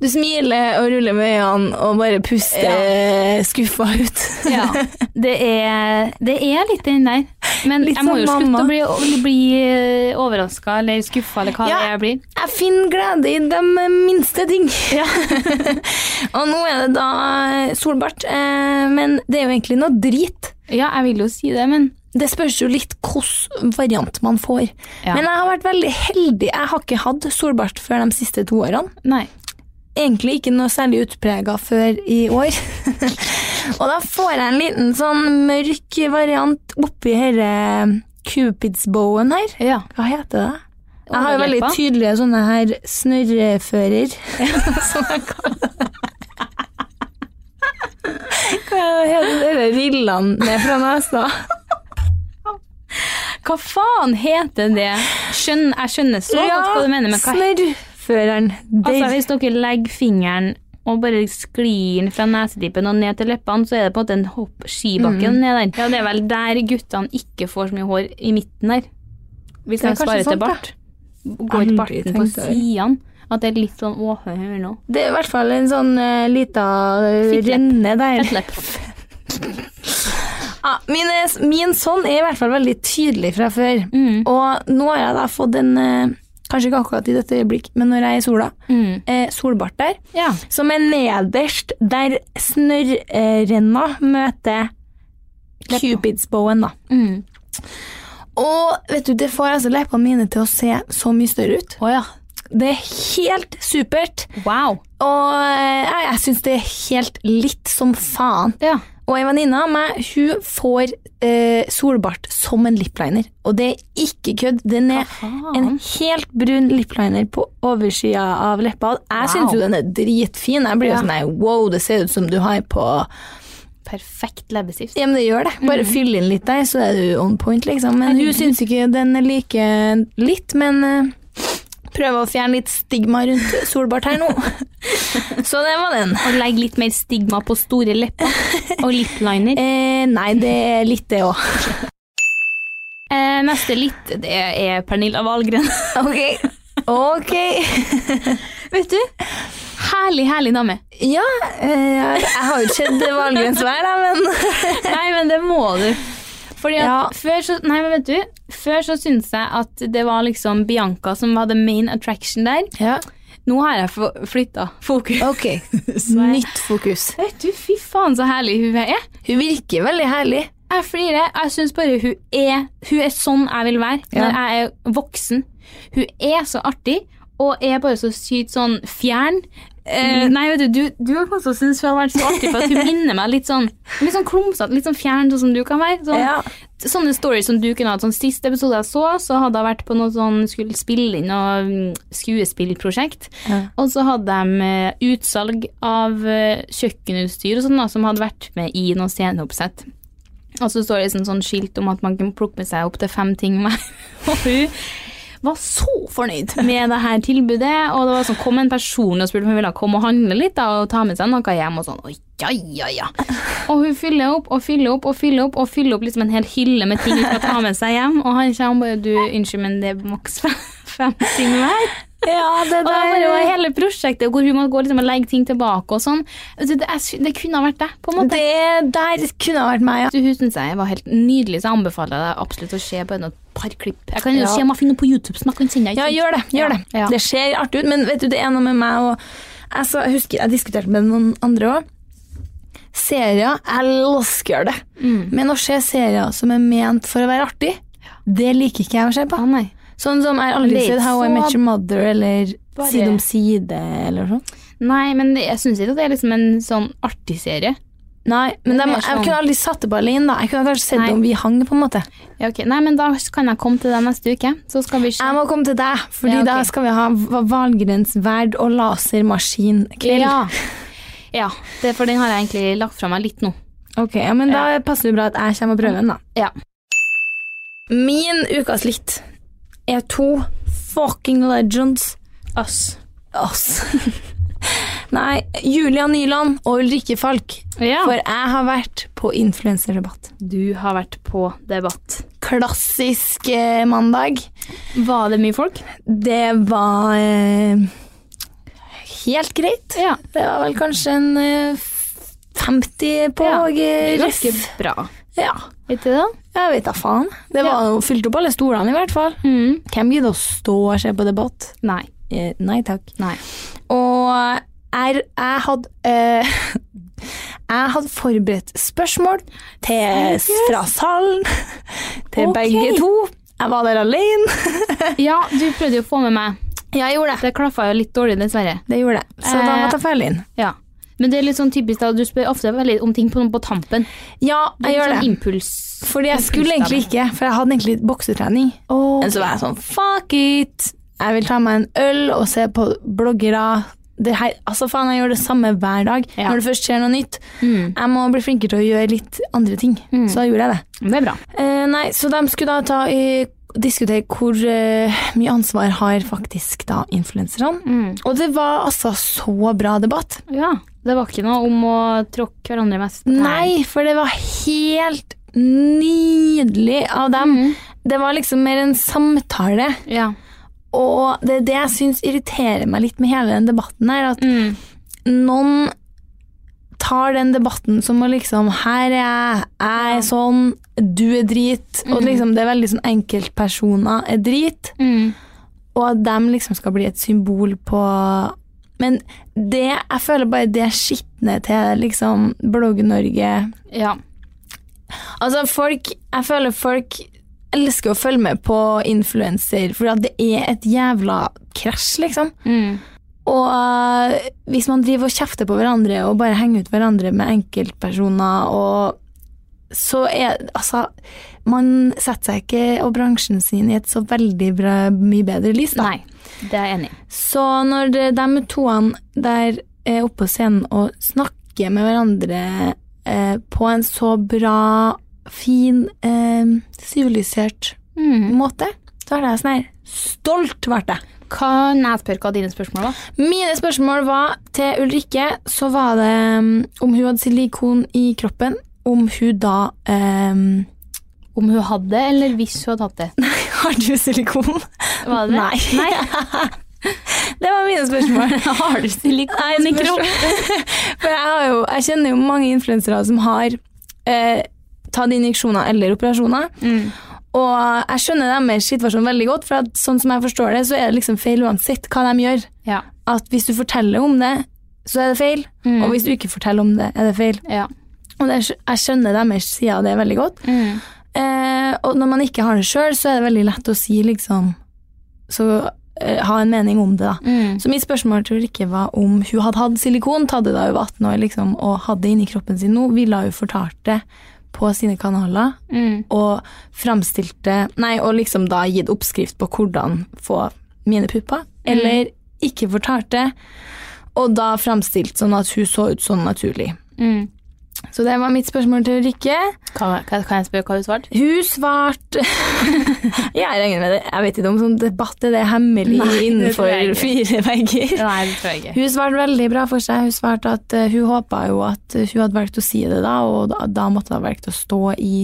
Du smiler og ruller med øynene og bare puster skuffa ut.
Ja. Det er, det er litt den der. Men
Litt
jeg må
som
jo
mamma.
slutte å bli, å bli overraska eller skuffa eller hva
Ja.
det er jeg blir.
Jeg finner glede i de minste ting. og nå er det da solbart, eh, men det er jo egentlig noe drit.
Ja, jeg vil jo si det, men
Det spørs jo litt hvilken variant man får.
Ja.
Men jeg har vært veldig heldig. Jeg har ikke hatt solbart før de siste to årene.
nei.
Egentlig ikke noe særlig utprega før i år. og da får jeg en liten sånn mørk variant oppi herre cupidsbowen her.
Ja.
Hva heter det? Jeg har jo veldig
Overleppa.
tydelige sånne her snørrefører, som jeg kaller det. Hva heter det? Rillene ned fra nesa.
Hva faen heter det? Skjønn, jeg skjønner så godt hva du mener, men hva
snørrføreren.
Altså,
Der.
hvis dere legger fingeren og bare sklir den fra nesetippen og ned til leppene, så er det på en måte en hopp skibakke
Mm.
ned der. Ja, det er vel der guttene ikke får så mye hår i midten der. Hvis
Det er
de sparer
kanskje
til
sant,
bart. Går ikke
Aldri
barten på
tenkt over.
sidene. At det er litt sånn åh, hør hør nå.
Det er i hvert fall en sånn eh, lita eh,
Fittlepp.
renne der.
Fettlepp.
Ja, min, er- min sånn er i hvert fall veldig tydelig fra før.
Mm.
Og nå har jeg da fått en eh, Kanskje ikke akkurat i dette øyeblikk, men når jeg er i sola.
Mm.
Eh, solbart der.
Ja.
Som er nederst der snørrenna møter cupidsbowen, da.
Mm.
Og vet du, det får altså leppene mine til å se så mye større ut.
Å ja.
Det er helt supert,
Wow.
og eh, jeg, jeg syns det er helt litt som faen.
Ja.
Og ei venninne av meg hun får eh, solbart som en lipliner, og det er ikke kødd. Den er
faen?
en helt brun lipliner på oversida av leppa. Jeg syns jo den er dritfin. Jeg blir jo
Ja.
sånn nei, wow, det ser ut som du har på
Perfekt leppestift.
Ja, men det gjør det. Bare
Mhm.
fyll inn litt der, så er du on point, liksom. Men hun syns ikke den er like litt, men eh, prøv å fjerne litt stigma rundt solbart her nå. så det var den.
Og legg litt mer stigma på store lepper. Og lipliner.
Eh, nei, det er litt det òg.
Eh, neste litt, det er Pernilla Wahlgren.
Ok. Ok.
Vet du? Herlig, herlig dame.
Ja, eh, jeg har jo ikke sett Valgrens vær, da, men
Nei, men det må du. Fordi at
Ja.
før så Nei, men vet du. Før så syntes jeg at det var liksom Bianca som var the main attraction der.
Ja.
Nå har jeg flytta fokus.
Ok, nytt fokus.
Vet du, fy faen så herlig hun er.
Hun virker veldig herlig.
Jeg flirer. Jeg syns bare hun er Hun er sånn jeg vil være
Ja.
når jeg er voksen. Hun er så artig og er bare så sykt sånn fjern. Eh,
Mm.
nei, vet du, du, du har også syntes hun har vært så artig, for at hun minner meg litt sånn Litt sånn klumsete, litt sånn fjern, sånn som du kan være. Sånn,
Ja.
Sånne stories som du kunne hatt. Sånn Sist episode jeg så, så hadde jeg vært på noe sånn skulle spille inn noe mm, skuespillprosjekt. Og så hadde de eh, utsalg av eh, kjøkkenutstyr og sånn, da, som hadde vært med i noe sceneoppsett. Og så står det liksom sånn skilt om at man kan plukke med seg opptil fem ting hver. Og hun var så fornøyd med det her tilbudet. Og det var sånn, kom en person og spurte om hun ville komme og handle litt da, og ta med seg noe hjem. Og sånn, og ja, ja, ja. Og hun fyller opp og fyller opp og fyller opp og fyller opp liksom en hel hylle med ting hun skal ta med seg hjem. Og han kommer bare du, unnskyld, men det er maks fem, fem ting hver.
Ja, det
Og det var bare hele prosjektet hvor hun må gå liksom og legge ting tilbake og sånn. Det, det, er- det kunne ha vært det, på en måte.
Det der kunne ha vært meg, ja.
Du, Hun synes jeg var helt nydelig, så jeg anbefaler deg absolutt å se på et par klipp. Jeg kan jo
Ja.
se om jeg finner noe på YouTube som jeg kan sende deg.
Ja, gjør det. gjør Det
Ja.
Det ser artig ut, men vet du, det er noe med meg og Jeg, så, jeg husker jeg diskuterte med noen andre òg. Serier Jeg elsker det.
Mm.
Men å se serier som er ment for å være artig, det liker ikke jeg å se på.
Å, nei.
Sånn som jeg har
Det
aldri
er
sett
ikke
How I
så-
Met Your Mother eller
Bare-
Side om side eller sånn.
Nei, men jeg synes ikke at det er liksom en sånn artig serie.
Nei, men
Det er
dem-
mer
jeg
sånn-
kunne aldri satt det på alene. da. Jeg kunne kanskje sett
Nei.
det om vi hang, på en måte.
Ja, ok. Nei, men da kan jeg komme til deg neste uke, så skal vi se.
Jeg må komme til deg, fordi
Ja, ok.
da skal vi ha hva- valgrensverd og lasermaskin-kveld.
Ja. ja, det, for den har jeg egentlig lagt fra meg litt nå.
Ok, ja, men da passer det bra at jeg kommer og prøver den, da.
Ja.
Min ukas litt er to fucking legends.
Ass.
Ass. Nei, Julia Nyland og Ulrikke Falk.
Ja.
For jeg har vært på influenserdebatt.
Du har vært på debatt.
Klassisk eh, mandag.
Var det mye folk?
Det var eh, helt greit.
Ja.
Det var vel kanskje en eh, 50 på
Ja,
eh,
Ganske
ref.
bra.
Ja.
Vet du det?
Jeg vet da faen. Det var jo fylt opp alle stolene, i hvert fall.
Mm.
Hvem gidder å stå og se på debatt?
Nei.
Eh, nei takk.
Nei.
Og er, jeg hadde eh, Jeg hadde forberedt spørsmål til, fra salen til
Ok.
begge to. Jeg var der alene.
Ja, du prøvde jo å få med meg.
Ja, jeg gjorde det.
Det klaffa jo litt dårlig, dessverre.
Det gjorde jeg. Så da
Eh,
måtte jeg følge inn.
Ja. Men det er litt sånn typisk da, du spør ofte veldig om ting på, på tampen.
Ja,
Det er
jeg
litt
gjør
sånn
det.
impuls.
Fordi jeg skulle egentlig ikke, for jeg hadde egentlig boksetrening. Men så var jeg sånn fuck it! Jeg vil ta meg en øl og se på bloggere. Det her, altså faen, Jeg gjør det samme hver dag
Ja.
når det først skjer noe nytt. Jeg må bli flinkere til å gjøre litt andre ting. Så da gjorde jeg det.
Det er bra.
Mm. Eh, nei, Så de skulle da ta eh, diskutere hvor eh, mye ansvar har faktisk da influenserne. Og det var altså så bra debatt.
Ja, Det var ikke noe om å tråkke hverandre mest. på tærne.
Nei, for det var helt nydelig av dem. Det var liksom mer en samtale,
Ja.
og det er det jeg syns irriterer meg litt med hele den debatten her, at
Mm.
noen tar den debatten som å liksom Her er jeg, jeg er sånn, du er drit. Og liksom det er veldig sånn enkeltpersoner er drit,
Mm.
og at dem liksom skal bli et symbol på men det, jeg føler bare det skitner til liksom Blogg-Norge,
Ja.
Altså, folk Jeg føler folk elsker å følge med på influenser, for det er et jævla krasj, liksom.
Mm.
Og øh, hvis man driver og kjefter på hverandre og bare henger ut hverandre med enkeltpersoner og så er Altså, man setter seg ikke og bransjen sin i et så veldig bra, mye bedre lys, da.
Nei. Det er jeg enig i.
Så når de, de toene der er oppe på scenen og snakker med hverandre eh, på en så bra, fin, eh, sivilisert
Mm.
måte, så er det sånn her Stolt ble jeg!
Kan jeg spørre hva dine spørsmål var?
Mine spørsmål var til Ulrikke, så var det mm, om hun hadde silikon i kroppen, om hun da eh,
Om hun hadde, eller hvis hun hadde hatt det?
Har du silikon?
Var det det?
Nei.
Nei.
Det var mine spørsmål.
Har du silikon i
spørsmål.
kroppen?
For jeg, har jo, jeg kjenner jo mange influensere som har eh, tatt injeksjoner eller operasjoner.
Mm.
Og jeg skjønner deres situasjon veldig godt, for at, sånn som jeg forstår det, så er det liksom feil uansett hva de gjør.
Ja.
At hvis du forteller om det, så er det feil, og hvis du ikke forteller om det, er det feil.
ja.
Og det, er- jeg skjønner deres side av det veldig godt.
Mm.
Eh, og når man ikke har det sjøl, så er det veldig lett å si liksom Så eh, ha en mening om det, da. Så mitt spørsmål til Rikke var om hun hadde hatt silikon, tatt det da hun var 18 år, liksom, og hadde det inni kroppen sin nå, ville hun fortalt det på sine kanaler, og framstilt det Nei, og liksom da gitt oppskrift på hvordan få mine pupper, eller ikke fortalt det, og da framstilt sånn at hun så ut sånn naturlig. Så det var mitt spørsmål til Rikke.
Kan, kan kan jeg spørre hva du svarte?
Hun svarte Jeg regner med det. Jeg vet ikke om sånn debatt er det hemmelig
Nei, det
innenfor
tror jeg ikke.
fire vegger.
Nei, det tror jeg ikke.
Hun svarte veldig bra for seg. Hun svarte at eh, hun håpa jo at eh, hun hadde valgt å si det da, og da, da måtte hun ha valgt å stå i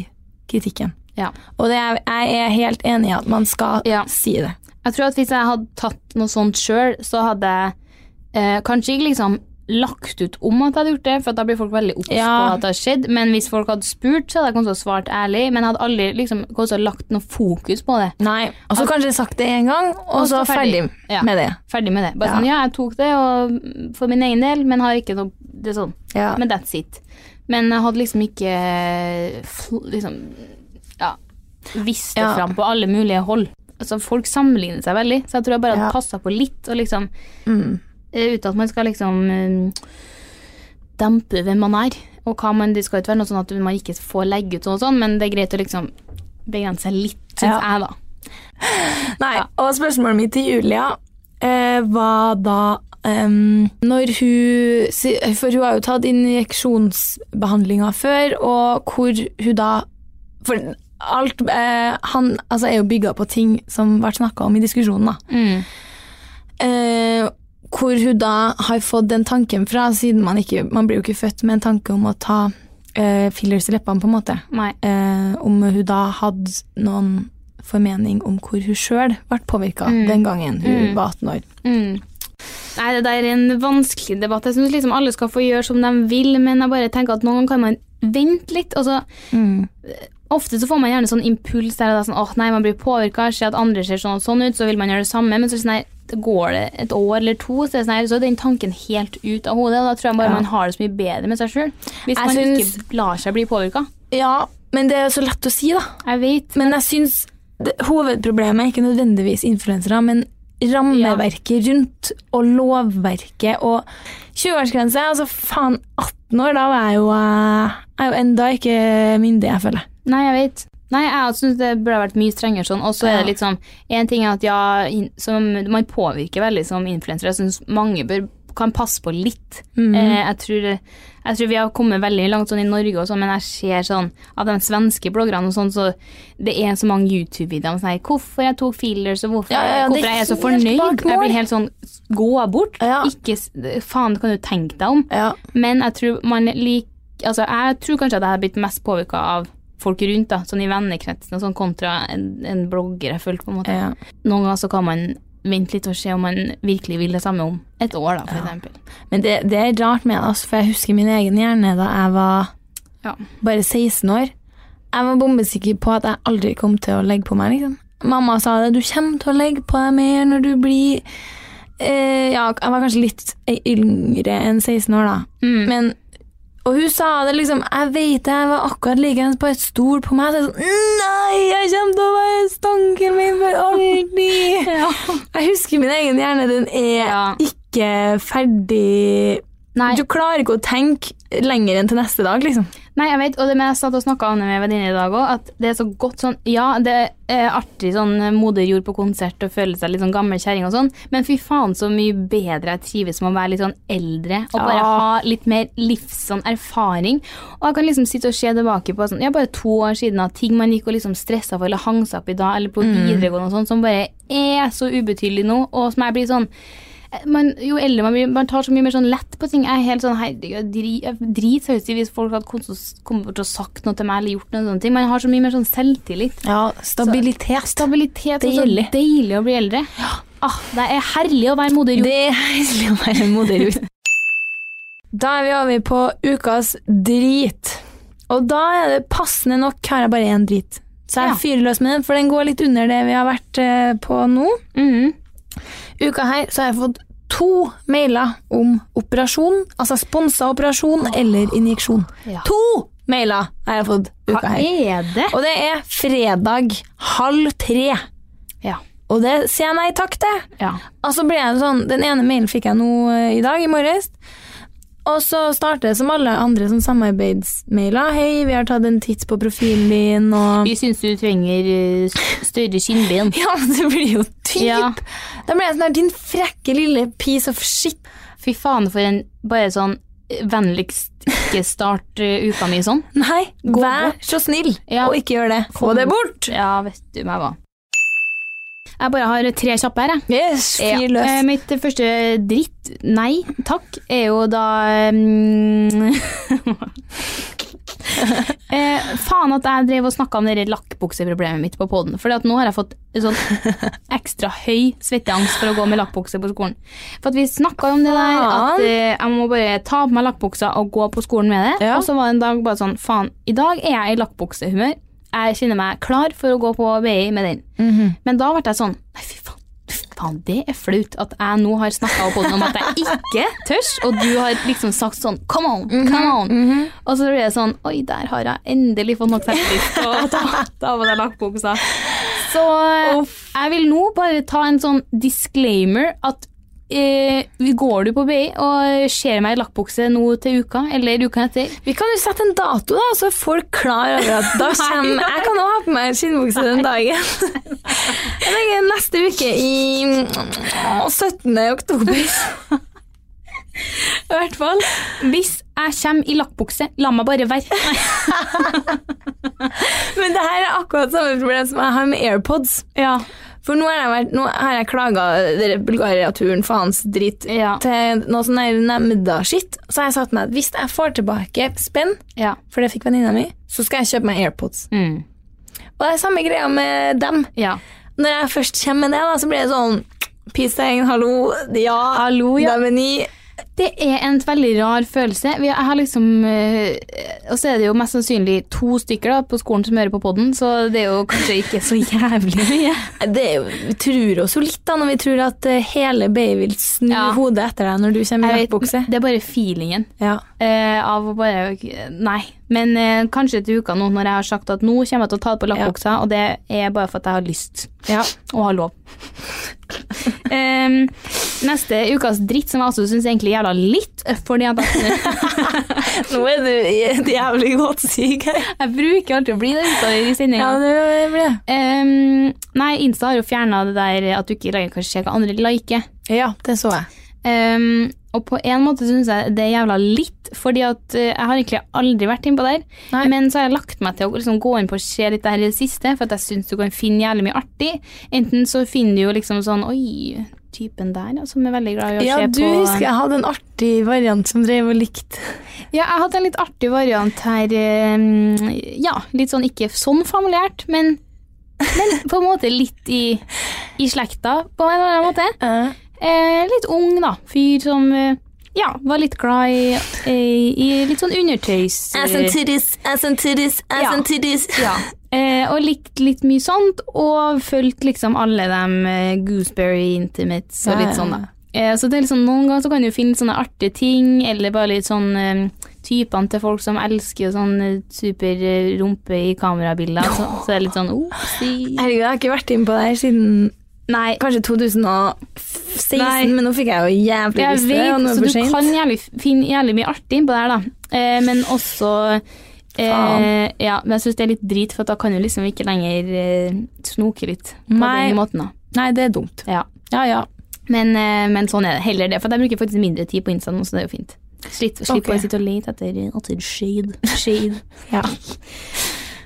kritikken.
Ja.
Og det er, jeg er helt enig i at man skal
Ja.
si det.
Jeg tror at hvis jeg hadde tatt noe sånt sjøl, så hadde jeg eh, kanskje ikke liksom lagt ut om at jeg hadde gjort det, for at da blir folk veldig obs på
Ja.
at det har skjedd. Men hvis folk hadde spurt, så hadde jeg kommet til å svart ærlig. Men jeg hadde aldri liksom, kommet til å lagt noe fokus på det.
Nei. Og så
altså-
kanskje sagt det én gang, og, så ferdig,
Ja.
med det.
Ferdig med det. Bare
Ja.
sånn, ja, jeg tok det og, for min egen del, men har ikke noe Det er sånn.
Ja.
Men that's it. Men jeg hadde liksom ikke fl- liksom, ja, vist det
Ja.
fram på alle mulige hold. Altså, folk sammenligner seg veldig, så jeg tror jeg bare
Ja.
hadde passet på litt. Og liksom,
Mm.
eh, Uten at man skal liksom eh, dempe hvem man er. Og hva man, Det skal jo ikke være noe sånn at man ikke får legge ut sånn og sånn, men det er greit å liksom begrense seg litt,
Ja.
syns jeg, da.
Nei, og spørsmålet mitt til Julia eh, var da em, når hun si- For hun har jo tatt injeksjonsbehandlinga før, og hvor hun da For alt eh, Han altså, er jo bygga på ting som ble snakka om i diskusjonen, da. Eh, hvor hun da har fått den tanken fra, siden man ikke Man blir jo ikke født med en tanke om å ta eh, fillers i leppene, på en måte
Nei.
eh, om hun da hadde noen formening om hvor hun sjøl ble påvirka den gangen hun var 18 år.
Mm. Nei, det der er en vanskelig debatt. Jeg syns liksom alle skal få gjøre som de vil, men jeg bare tenker at noen ganger kan man vente litt. Og så Mm. eh, Ofte så får man gjerne sånn impuls der det er sånn, åh nei, man blir påvirka, ser at andre ser sånn og sånn ut, så vil man gjøre det samme, men så er det sånn, nei, det går det et år eller to, så er, det sånn, nei, så er den tanken helt ut av hodet. Og da tror jeg bare man har det så mye bedre med seg sjøl. Hvis
Jeg
man
syns-
ikke lar seg bli påvirka.
Ja, men det er jo så lett å si, da.
Jeg vet.
Men jeg syns det- hovedproblemet er ikke nødvendigvis influensere, men rammeverket rundt, og lovverket og 20-årsgrense. Altså faen, 18 år, da var jeg jo, eh, jeg er jo enda ikke myndig, jeg føler.
Nei, jeg vet. Nei, jeg syns det burde ha vært mye strengere sånn. Og så er det litt sånn En ting er at ja, in- som man påvirker veldig som influensere. Jeg syns mange bør, kan passe på litt.
Mhm.
eh, jeg, tror, jeg tror vi har kommet veldig langt sånn i Norge og sånn, men jeg ser sånn av de svenske bloggerne og sånn, så det er så mange YouTube-videoer om sånn her, hvorfor jeg tok fillers, og hvorfor,
Ja, ja, ja, det
hvorfor
er
jeg er så
helt bak
fornøyd.
mål.
Jeg blir helt sånn Gå bort.
Ja.
Ikke s- Faen, det kan du tenke deg om.
Ja.
Men jeg tror man lik, altså jeg tror kanskje at jeg har blitt mest påvirka av folk rundt, da, sånn i vennekretsen og sånn, kontra en, en blogger jeg fulgte, på en måte.
Ja.
Noen ganger så kan man vente litt og se om man virkelig vil det samme om et år, da, for eksempel.
Men det, det er rart med det, altså, for jeg husker min egen hjerne da jeg var
Ja.
bare 16 år. Jeg var bombesikker på at jeg aldri kom til å legge på meg. Liksom. Mamma sa det, du kommer til å legge på deg mer når du blir eh, Ja, jeg var kanskje litt yngre enn 16 år, da.
Mm.
Men, og hun sa det liksom Jeg vet det, jeg var akkurat likeens på et stol på meg. Så jeg sånn, Nei, jeg kommer til å være stanken min for alltid! Jeg husker min egen hjerne. Den er
Ja.
ikke ferdig
Nei.
Du klarer ikke å tenke lenger enn til neste dag, liksom.
Nei, jeg vet, og det med jeg satt og snakka om det med en venninne i dag òg, at det er så godt sånn Ja, det er artig sånn moderjord på konsert og føle seg litt sånn gammel kjerring og sånn, men fy faen så mye bedre jeg trives med å være litt sånn eldre og bare
Ja.
ha litt mer livs sånn erfaring. Og jeg kan liksom sitte og se tilbake på sånn, ja, bare to år siden at ting man gikk og liksom stressa for eller hang seg opp i da, eller på videregående og sånn, som bare er så ubetydelig nå, og som jeg blir sånn man, jo eldre man blir, man tar så mye mer sånn lett på ting. Jeg er helt sånn herregud, dri- jeg dritseriøst i hvis folk hadde kommet kommet bort og sagt noe til meg eller gjort noe sånne ting. Man har så mye mer sånn selvtillit.
Ja, stabilitet.
Stabilitet og så
Deilig.
deilig å bli eldre. Ah, det er herlig å være moder jord.
Det er herlig å være moder ut. Da er vi over på ukas drit. Og da er det passende nok har jeg bare én drit. Så jeg
Ja.
fyrer løs med den, for den går litt under det vi har vært eh, på nå.
Mhm.
Uka her så har jeg fått to mailer om operasjon, altså sponsa operasjon eller injeksjon.
Ja.
To mailer har jeg fått
Hva
uka her.
er det?
Og det er fredag halv tre.
Ja.
Og det sier jeg nei takk til.
ja.
Altså ble jeg sånn, Den ene mailen fikk jeg nå eh, i dag, i morges. Og så starter det som alle andre sånn samarbeidsmailer. 'Hei, vi har tatt en titt på profilen din', og
Vi syns du trenger eh, s- større skinnben.
Ja, men det blir jo typ!
Ja.
Da ble jeg sånn her 'Din frekke lille piece of shit'.
Fy faen for en bare sånn eh, vennligst ikke start eh, uka mi sånn.
Nei,
Gå
vær
bort.
så snill
Ja.
og ikke gjør det. Få
Kom.
det bort!
Ja, vet du meg hva. Jeg bare har tre kjappe her, jeg.
Yes, fyr
Ja. Eh,
løs.
mitt første dritt, nei takk, er jo da mm, eh, Faen at jeg drev og snakka om det der lakkbukseproblemet mitt på poden. For nå har jeg fått en sånn ekstra høy svetteangst for å gå med lakkbukse på skolen. For at vi snakka om det der at
Faen.
eh, jeg må bare ta på meg lakkbuksa og gå på skolen med det.
Ja.
Og så var det en dag bare sånn Faen, i dag er jeg i lakkbuksehumør. Jeg kjenner meg klar for å gå på BI med den.
Mhm.
Men da ble jeg sånn Nei, fy faen. fy Faen, det er flaut at jeg nå har snakka på den om at jeg ikke tørs, og du har liksom sagt sånn Come on,
Mhm,
come on. Og så blir det sånn Oi, der har jeg endelig fått nok selvtillit til å ta, ta på deg lakkbuksa. Så eh, jeg vil nå bare ta en sånn disclaimer at eh, går du på BI og ser meg i lakkbukse nå til uka, eller uka etter,
Vi kan jo sette en dato, da, så er folk klar over at da kommer Jeg kan også ha på meg en skinnbukse den dagen. Jeg tenker neste uke i mm, 17. oktober.
I hvert fall, hvis jeg kommer i lakkbukse, la meg bare være.
Men det her er akkurat samme problem som jeg har med AirPods.
Ja.
For nå har jeg, vært, nå har jeg klaga dere Bulgaria-turen, faens dritt,
Ja.
til noe sånn der nemnda-skitt. Så har jeg sagt meg at hvis jeg får tilbake spenn,
ja.
for det fikk venninna mi, så skal jeg kjøpe meg AirPods.
Mm.
Og det er samme greia med dem.
ja.
Når jeg først kommer med det, da, så blir det sånn Pissing, hallo, ja,
Hallo, ja.
dem er ni.
Det er en veldig rar følelse. Vi- Jeg har liksom eh, Og så er det jo mest sannsynlig to stykker da, på skolen som hører på poden, så det er jo kanskje ikke så jævlig mye.
Det er jo, vi tror oss jo litt da, når vi tror at eh, hele Bay vil snu
Ja.
hodet etter deg når du kommer i
Jeg
jakkebukse.
vet, det er bare feelingen
Ja.
eh, av å bare Nei. Men eh, kanskje til uka nå, når jeg har sagt at nå kommer jeg til å ta det på lakkbuksa, og det er bare for at jeg har lyst.
Ja.
Og har lov. Em, neste ukas dritt, som jeg også syns egentlig jævla litt, fordi at
Nå er du i- jævlig godt syk her.
jeg bruker alltid å bli det utover i sendinga.
Ja, det blir det.
Ehm, nei, Insta har jo fjerna det der at du ikke lenger kan se hva andre liker.
Ja, det så jeg.
Ehm, og på en måte syns jeg det er jævla litt, fordi at eh, jeg har egentlig aldri vært innpå der.
Nei.
Men så har jeg lagt meg til å liksom gå inn på og se litt det her i det siste, for at jeg syns du kan finne jævlig mye artig. Enten så finner du jo liksom sånn Oi, typen der, ja, som er veldig glad i å
Ja,
se
du
på
husker jeg hadde en artig variant som drev og likte.
Ja, jeg hadde en litt artig variant her. eh, Ja, litt sånn ikke sånn familiært, men, men på en måte litt i, i slekta, på en eller annen måte. Eh, litt ung, da. Fyr som eh, ja, var litt glad i, eh, i litt sånn undertøys...
titties, ass and titties, ass
Ja.
titties.
ja. Eh, og likte litt mye sånt, og fulgte liksom alle de eh, Gooseberry Intimates og
Ja,
litt
ja,
sånn, da. Eh, så det er liksom, noen ganger så kan du finne litt sånne artige ting, eller bare litt sånn eh, typene til folk som elsker sånn eh, super eh, rumpe i kamerabilder. Så, så det er litt sånn opsi.
Herregud, jeg har ikke vært inne på det her siden
Nei,
kanskje 2016,
Nei.
men nå fikk jeg jo jævlig
Jeg
lyst til det, og nå
vet,
er det
så du
for sent.
kan jævlig, finne jævlig mye artig innpå der, da. Eh, men også eh,
Faen.
Ja, men jeg syns det er litt drit, for at da kan du liksom ikke lenger eh, snoke litt på
Nei.
den måten, da.
Nei, det er dumt.
Ja.
Ja, ja.
Men, eh, men sånn er det. Heller det. For jeg bruker faktisk mindre tid på Insta nå, så det er jo fint. Slitt, slitt
Ok.
på å sitte og lete etter, etter shade. shade.
Ja.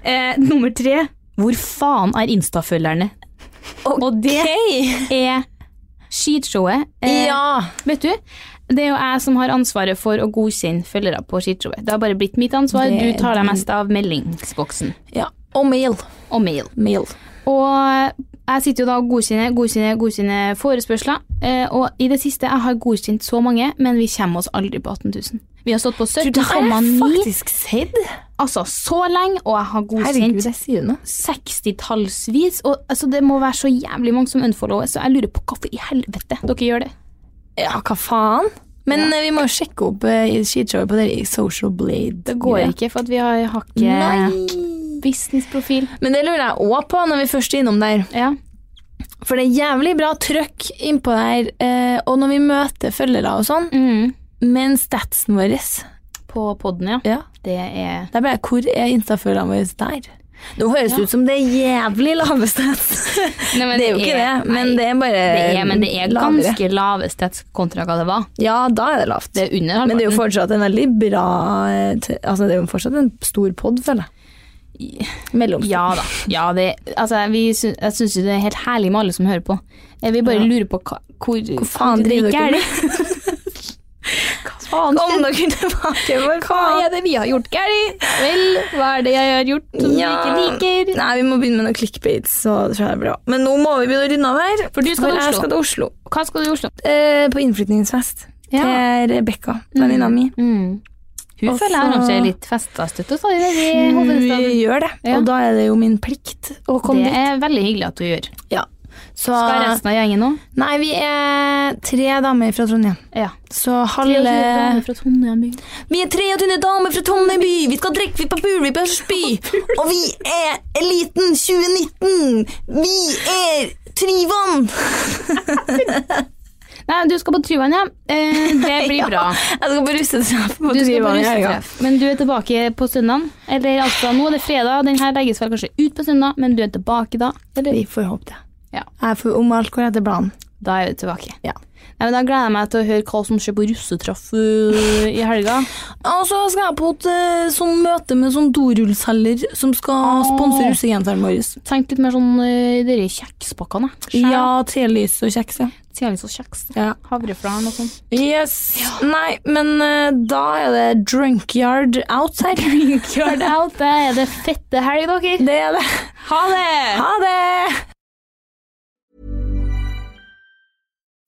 Eh, nummer tre. Hvor faen er Insta-følgerne? Og det er skitshowet. Eh,
Ja.
Vet du, det er jo jeg som har ansvaret for å godkjenne følgere på skitshowet. Det har bare blitt mitt ansvar.
Det-
Du tar deg mest av meldingsboksen
ja. Og mail.
og mail.
Mail.
Og jeg sitter jo da og godkjenner, godkjenner, godkjenner forespørsler. Eh, og i det siste, jeg har godkjent så mange, men vi kommer oss aldri på 18 000. Vi har stått på
Du, det har jeg
17,9.
faktisk sett.
altså så lenge, og jeg har godkjent
Herregud, jeg sier det nå.
60-tallsvis. Og altså, det må være så jævlig mange som unfollower, så jeg lurer på hvorfor i helvete dere gjør det.
Ja, hva faen? Men eh, vi må jo sjekke opp eh, skishowet på dere i Social Blade.
Det går ikke, for at vi har har ikke
Nei.
businessprofil.
Men det lurer jeg òg på når vi først er innom der.
Ja.
For det er jævlig bra trøkk innpå der, eh, og når vi møter følgere og sånn.
Mm.
Men statsen vår
På poden, ja.
ja.
Det er
Der ble jeg, Hvor er instafølgerne våre der? Nå høres det ut som det er jævlig lave stats.
Nei, men
det er jo
det
ikke
er-
det, men det er bare
det er, men det er
lavere.
ganske lave stats kontra hva det var.
Ja, da er det lavt.
Det er under
men det er jo
halvparten.
fortsatt en veldig bra eh, t- Altså, det er jo fortsatt en stor pod, føler jeg. Mellomstor.
Ja da. Ja, det, altså, vi, sy- jeg syns jo det er helt herlig med alle som hører på. Jeg vil bare lure på hva, hvor,
Hvor faen driver dere med?
Faen,
Kom dere tilbake, for faen!
det vi har gjort galt? Vel, hva er det jeg har gjort som
Ja.
du ikke liker?
Nei, vi må begynne med noen clickbaits, så tror jeg det er bra. Men nå må vi begynne å runde av her.
For du skal til
jeg
Oslo.
skal til Oslo.
Hva skal du i Oslo?
Eh, på innflytningsfest
Ja. Mm.
til Rebekka, venninna mi.
Hun
Og
føler jeg
så-
arrangerer litt fester støtt og stadig i
Hun
hovedstaden.
gjør det,
Ja.
og da er det jo min plikt å komme
Det
dit.
er veldig hyggelig at du gjør.
Ja. Så,
Skal resten av gjengen òg?
Nei, vi er tre damer fra Trondheim.
Ja.
Så halve
eh,
Vi er 23 damer fra Trondheim by! Vi skal drikke, vi på pul, vi på spy! Og vi er eliten 2019! Vi er Tryvann!
Nei, du skal på Tryvann, ja. Eh, det blir bra.
Jeg skal på russetreff på
Du skal på
Tryvann i helga.
russetreff, men du er tilbake på søndag. Eller altså, nå er det fredag, den her legges vel kanskje ut på søndag, men du er tilbake da? Eller?
Vi får håpe det.
Ja.
Jeg får, om alt går etter planen.
Da er du tilbake.
Ja.
Nei, men Da gleder jeg meg til å høre hva som skjer på russetraff øh, i helga.
Og så skal jeg på et eh, sånn møte med sånn dorullselger som skal
Åh.
sponse russegenseren vår.
Tenk litt mer sånn øh, dere kjekspakkene.
Ja, telys og kjeks, ja.
Sier litt så kjeks. da.
Ja.
Havreflarn og sånn.
Yes. Nei, men eh, da er det drunkyard out her. Drunkyard
Alt det er det fette helg, dere.
Det er det.
Ha det!
Ha det!